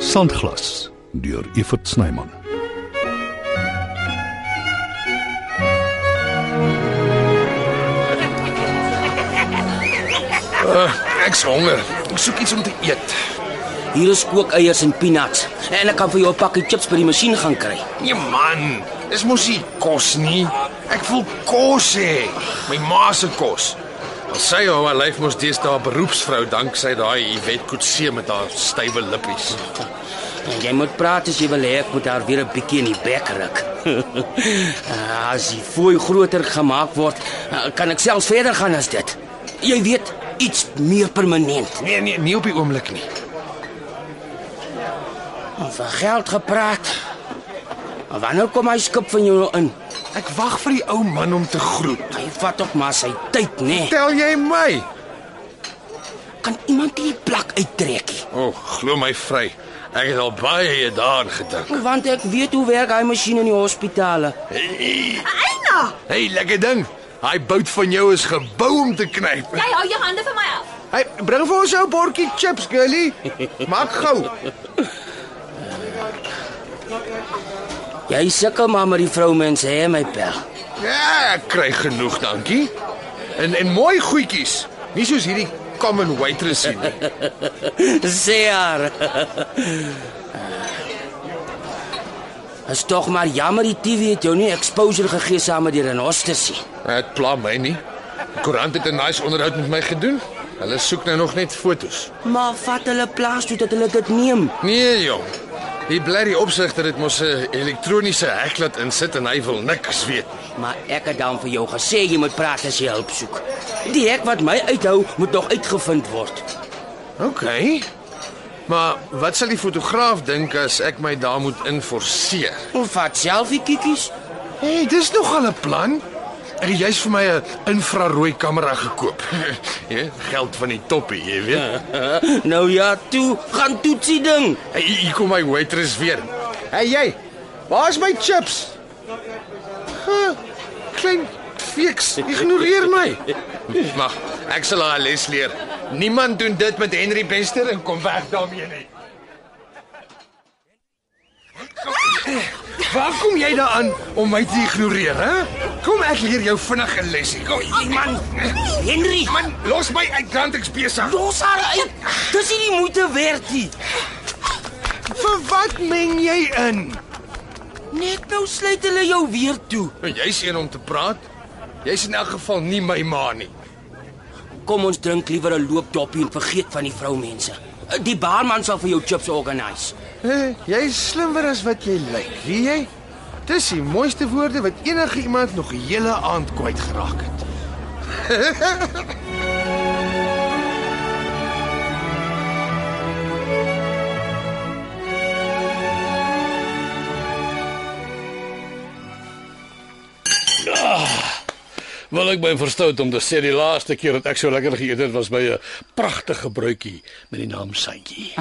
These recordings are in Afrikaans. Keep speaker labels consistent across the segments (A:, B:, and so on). A: Sandglas deur Evert Snyman.
B: Ek's honger. Ek soek iets om te eet.
C: Hier is kookeiers en peanuts. En ek kan vir jou 'n pakkie chips by die masjien gaan kry.
B: Nee man, dis mos nie kos nie. Ek voel kos hê. My ma se kos. Al sy hou haar lyf mos deesdae 'n beroepsvrou danksy daai Iwet Kutse met haar stywe lippies.
C: En jy moet praat as jy wil hê ek moet haar weer 'n bietjie in die bek ruk. Ah, as die fooi groter gemaak word, ah, kan ek selfs verder gaan as dit. Jy weet, iets meer permanent.
B: Nee nee, nie op die oomblik nie.
C: Van geld gepraat. Maar Wanneer kom hy skip van jou in?
B: Ek wag vir die ou man om te groet.
C: Hy vat tog maar sy tyd, né? Nee.
B: Tel jy my?
C: Kan iemand die plak uittrekkie?
B: O, oh, glo my vry. Ek het al baie daaraan gedink.
C: Want ek weet hoe werk hy masjien in die hospitale.
D: Eina,
B: Hey, lekker ding. Hy bout van jou is gebou om te knyp.
D: jy hou jou hande van my af.
B: Hey, bring vir ons jou bordjie chips, girlie. Maak gou.
C: Jy sukkel maar met die vroumens hè, my pel.
B: Ja, ek kry genoeg, dankie. En en mooi goedjies. Nie soos hierdie common waitress hier nie.
C: Sê haar. Is tog maar jammer die TV het jou nie exposure gegee saam met die renostersie.
B: Dit pla my nie. Die koerant het 'n nice onderhoud met my gedoen. Hulle soek nou nog net fotos.
C: Maar vat hulle plaas toe dat hulle dit neem.
B: Nee, jong. Die blerrie opsigter het mos 'n elektroniese hek laat insit en hy wil niks weet.
C: Maar ek het dan vir jou gesê jy moet praat as jy hulp soek. Die hek wat my uithou moet nog uitgevind word.
B: OK. Maar wat sal die fotograaf dink as ek my daar moet inforceer?
C: Ons vat selfie kikkies.
B: Hey, dis nogal 'n plan. Ek het juis vir my 'n infrarooi kamera gekoop. ja, geld van die toppie, jy weet.
C: nou ja, toe gaan toetsie ding.
B: Hey, hier hier kom my waitress weer. Hey jy, waar's my chips? Huh, klein fiks, ignoreer my. Maar ek sal haar les leer. Niemand doen dit met Henry Bester en kom weg daarmee nie. Waar kom jy daaraan om my te ignoreer, hè? Kom ek leer jou vinnig 'n lesie. Kom, hier, man.
C: Henry,
B: Man, los my uit, dan ek's besig.
C: los haar uit. Dis nie die moeite werd nie.
B: Vir wat meng jy in?
C: Net nou sluit hulle jou weer toe.
B: Nou, jy's een om te praat. Jy's in elk geval nie my ma nie.
C: Kom ons drink liewer 'n loopdoppie en vergeet van die vroumense. Die baarman sal vir jou chips organise.
B: Hey, jy's slimmer as wat jy lyk, weet jy? Dis die mooiste woorde wat enige iemand nog 'n hele aand kwyt geraak het.
E: Wil Ah, ek my verstout om te sê die laaste keer dat ek so lekker geëet het was by 'n pragtige bruitjie met die naam Santjie.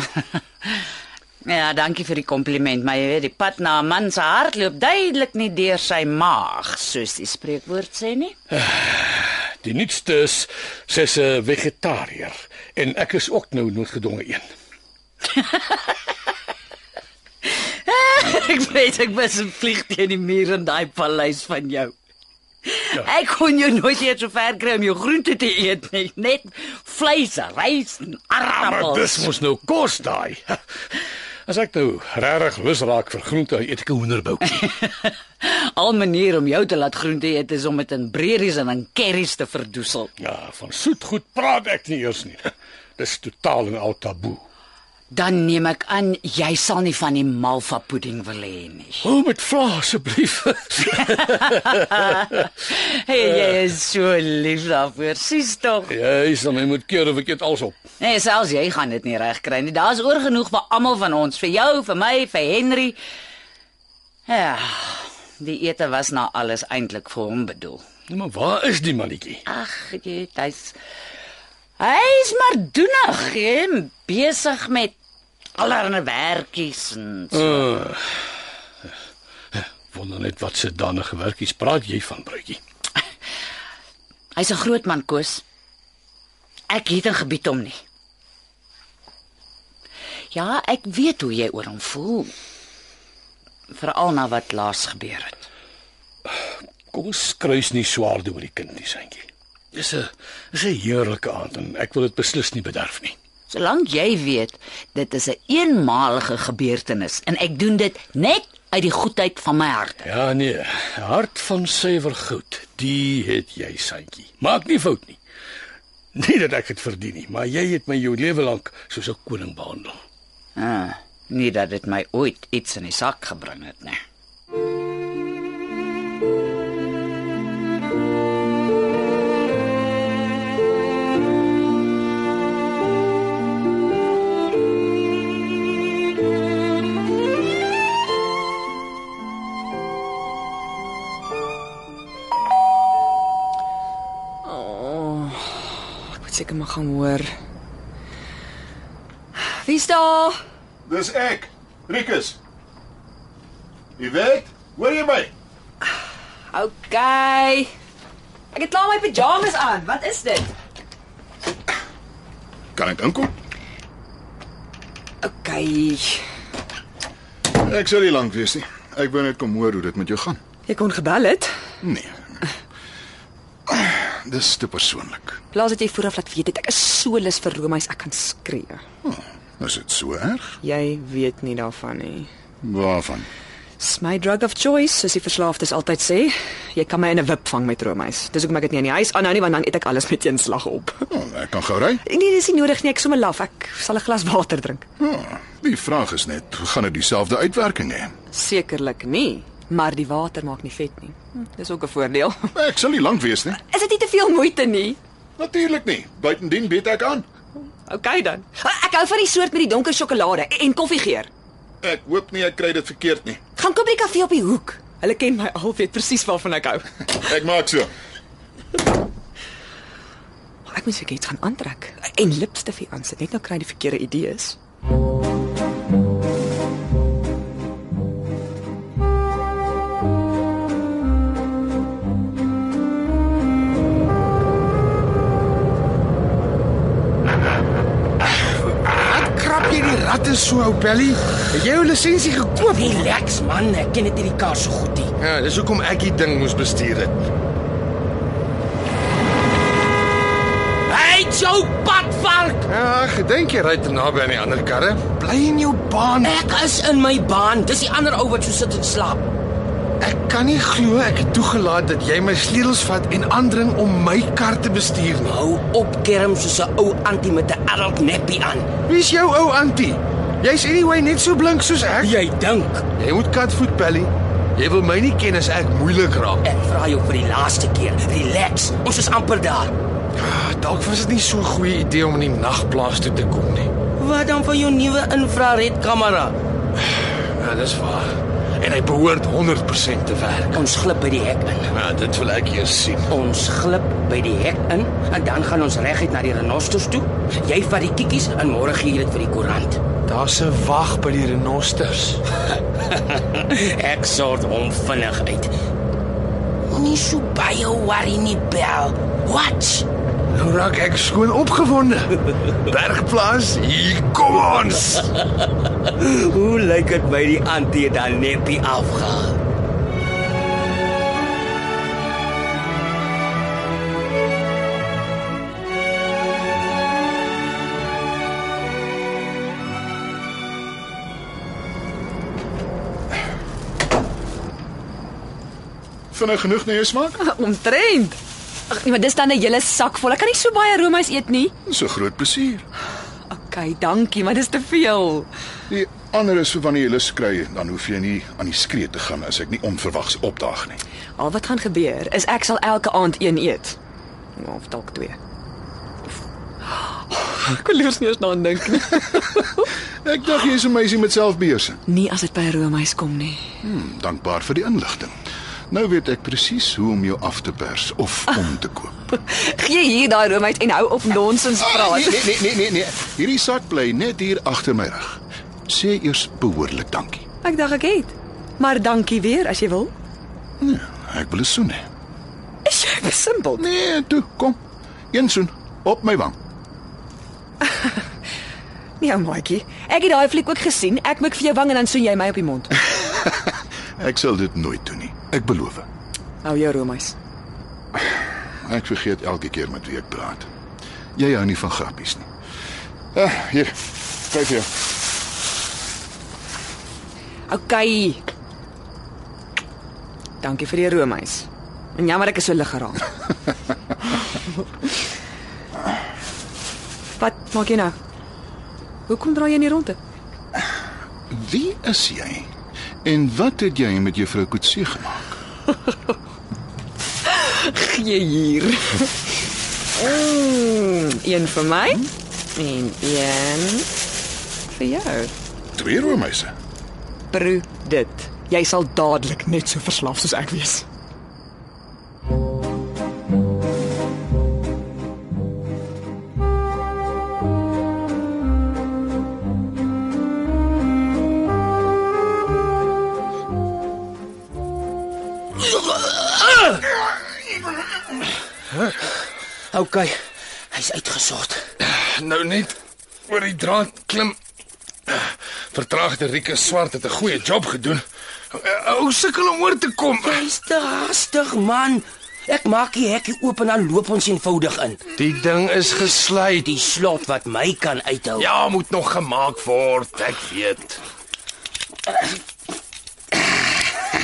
F: Ja, dankie vir die kompliment, maar jy weet, die pad na 'n man se hart loop duidelik nie deur sy maag, soos die spreekwoord sê nie.
E: Die nuutste is sy's 'n vegetariër en ek is ook nou noodgedwonge een.
F: ek weet ek was 'n vlieg teen die muur in daai paleis van jou. Ja. Ek kon jou nooit eers so ver kry om jou groente te eet nie, net vleis, rys en
E: Ja, Maar dis
F: aardappels.
E: mos nou kos daai. As ek nou regtig lus raak vir groente, eet ek 'n hoenderboutjie.
F: Al manier om jou te laat groente eet is om dit in breeries en in curries te verdoesel.
E: Ja, van soet goed praat ek nie eers nie. Dis totaal en al taboe.
F: Dan neem ek aan jy sal nie van die malva pudding wil hê nie.
E: O, met vla asseblief.
F: Hey, jy is so lief daarvoor. Sies tog.
B: Eh.
E: Ja, Jy sal my moet keer of ek dit alsop.
F: Nee, selfs jy gaan dit nie reg kry nie. Daar's oor genoeg vir almal van ons, vir jou, vir my, vir Henry. Ja. Die ete was na alles eintlik vir hom bedoel.
E: Nou maar waar is die mannetjie?
F: Ag, jy, weet, hy's hy's maar doenig, hè, besig met allerlei werkies en so.
E: Wonder net wat se danige werkies praat jy van, Bruitjie?
F: Hy's 'n groot man, Koos. Ek het 'n gebied om nie. Ja, ek weet hoe jy oor hom voel. Veral na wat laas gebeur het.
E: Kom ons kruis nie swaarde oor die kind nie, seentjie. Dis 'n dis 'n heerlike aand en ek wil dit beslis nie bederf nie.
F: Solank jy weet, dit is 'n een eenmalige gebeurtenis en ek doen dit net uit die goedheid van my hart.
E: Ja nee, hart van suiwer goud, die het jy, seentjie. Maak nie fout nie. Nie dat ek dit verdien nie, maar jy het my jou lewe lank soos 'n koning behandel.
F: Ah, nie dat dit my ooit iets in die sak gebring het nee. nie.
G: Oh, Ek moet seker maar gaan hoor. Wie's daar?
H: Dis ek, Rikus. Jy weet, hoor jy my?
G: OK. Ek het klaar my pyjamas aan. Wat is dit?
H: Kan ek inkom?
G: OK.
H: Ek sal nie lank wees nie. Ek wou net kom hoor hoe dit met jou gaan.
G: Jy kon gebel het.
H: Nee. Dis te persoonlik.
G: Plaas dit jy vooraf laat weet het. Ek is so lus vir roomys, ek kan skree.
H: Is dit so erg?
G: Jy weet nie daarvan nie.
H: Waarvan?
G: Dis my drug of choice, soos die verslaafdes altyd sê. Jy kan my in 'n wip vang met roomys. Dis hoekom ek dit nie in die huis aanhou nie, want dan eet ek alles met een slag op.
H: Oh, ek kan gou ry.
G: Nee, dis nie nodig nie. Ek sommer laf. Ek sal 'n glas water drink.
H: Oh, die vraag is net, gaan dit dieselfde uitwerking hê?
G: Sekerlik nie, maar die water maak nie vet nie. Hm, Dis ook 'n voordeel.
H: Ek sal nie lank wees nie.
G: Is dit nie te veel moeite nie?
H: Natuurlik nie. Buitendien bied ek aan.
G: OK dan. Ek hou van die soort met die donker sjokolade en koffiegeur.
H: Ek hoop nie ek kry dit verkeerd nie.
G: Gaan koop by die kafee op die hoek. Hulle ken my al, weet presies waarvan ek hou.
H: Ek maak so.
G: Ek moet seker iets gaan aantrek en lipstifie aansit. Net nou kry ek die verkeerde idees.
B: Krap jy die ratte so ou Pelly? Het jy jou lisensie gekoop?
C: Relax man, ek ken dit hierdie kar so goed nie.
B: Ja, dis hoekom ek die ding moes bestuur het.
C: Hey, jou padvark.
B: Ja, gedink jy ry te naby aan die ander karre? Bly in jou baan.
C: Ek is in my baan. Dis die ander ou wat so sit en slaap.
B: Ek kan nie glo ek het toegelaat dat jy my sleutels vat en aandring om my kar te bestuur nie.
C: Hou op kerm soos 'n ou antie met 'n adult nappie aan.
B: Wie's jou ou antie? Jy's anyway net so blink soos ek.
C: Jy dink
B: Jy moet katvoet Pelly. Jy wil my nie ken as ek moeilik raak.
C: ek vra jou vir die laaste keer, relax. Ons is amper daar.
B: Ah, Dalk was dit nie so 'n goeie idee om in die nagplaas toe te kom nie.
C: Wat dan van jou nuwe infrared kamera?
B: Ja, dis waar. En hy behoort 100% te werk.
C: Ons glip by die hek in.
B: Ja, dit wil ek eers sien.
C: Ons glip by die hek in en dan gaan ons reguit na die renosters toe. Jy vat die kikkies en môre gee jy dit vir die koerant.
B: Daar's 'n wag by die renosters.
C: Ek sort hom vinnig uit. Moenie so baie worry nie, Bel. Watch.
B: Nou raak ek skoon opgewonde. Bergplaas, hier kom ons.
C: Hoe lyk dit by die antie dan neppie afgaan?
H: Vinnig genoeg na jou smaak?
G: Omtrent. Ag nee, maar dis dan 'n hele sak vol. Ek kan nie so baie roomys eet nie.
H: So groot plesier.
G: OK, dankie, maar dis te veel.
H: Die ander is vir wanneer jy lus kry, dan hoef jy nie aan die skree te gaan as ek nie onverwags opdaag nie.
G: Al wat gaan gebeur is ek sal elke aand een eet. Ja, Of dalk twee. Oh, Ek kan liewers nie eens daaraan dink nie.
H: Ek dink jy's 'n meisie met selfbeheersing.
G: Nie Nee, as dit by 'n roomys kom nie.
H: Dankbaar vir die inligting. Nou weet ek presies hoe om jou af te pers of om te koop.
G: Gee hier daai roomys en hou op nonsens praat.
H: nee, nee, nee, nee, nee. Hierdie sak bly net hier agter my rug. Sê eers behoorlik dankie.
G: Ek dink ek het. Maar dankie weer as jy wil.
H: Nee, ek wil 'n soen hê.
G: Is jy besimpel?
H: Nee, toe, kom. Een soen op my wang.
G: Nee, ou maatjie. Ek het daai fliek ook gesien. Ek mik vir jou wang en dan soen jy my op die mond.
H: Ek sal dit nooit doen nie. Ek beloof.
G: Hou Nou, jou roomys.
H: Ek vergeet elke keer met wie ek praat. Jy hou nie van grappies nie. Ah, hier. Kyk hier.
G: OK. Dankie vir die roomys. En jammer ek is so lig geraak. Wat maak jy nou? Hoekom draai jy nie rond nie?
H: Wie is jy? En wat het jy met juffrou Kutse gemaak?
G: Gee hier. Mm, een vir my en een vir jou.
H: Twee roomhuise.
G: Proe dit. Jy sal dadelik net so verslaaf soos ek wees.
C: OK. Hy's uitgesort.
B: Nou net oor die draad klim. Vertraagde Rieke Swart het 'n goeie job gedoen. Ou sukkel om oor te kom.
C: Hy's te haastig, man. Ek maak die hekkie oop en dan loop ons eenvoudig in.
B: Die ding is gesluit.
C: Die slot wat my kan uithou.
B: Ja, moet nog gemaak word, ek weet.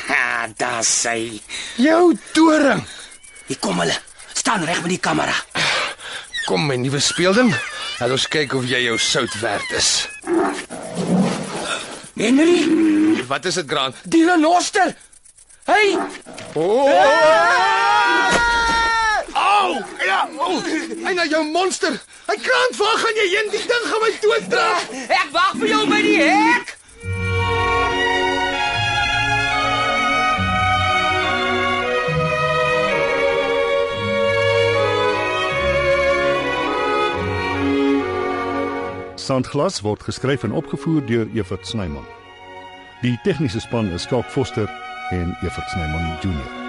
C: Ja, daar sê.
B: Jou doring.
C: Hier kom hulle. Staan reg met die kamera.
B: Kom my nuwe speelding. Laat ons kyk of jy jou sout werd is.
C: Henry,
B: Wat is dit, Grant?
C: die renoster. Hey,
B: Au! Ja, au! Hy na jou monster. Hy Grant, waar gaan jy heen? Die ding gaan my dooddraag.
C: ek wag vir jou by die hek.
A: Sandglas word geskryf en opgevoer deur Evert Snyman. Die tegniese span is Skalk Foster en Evert Snyman Junior.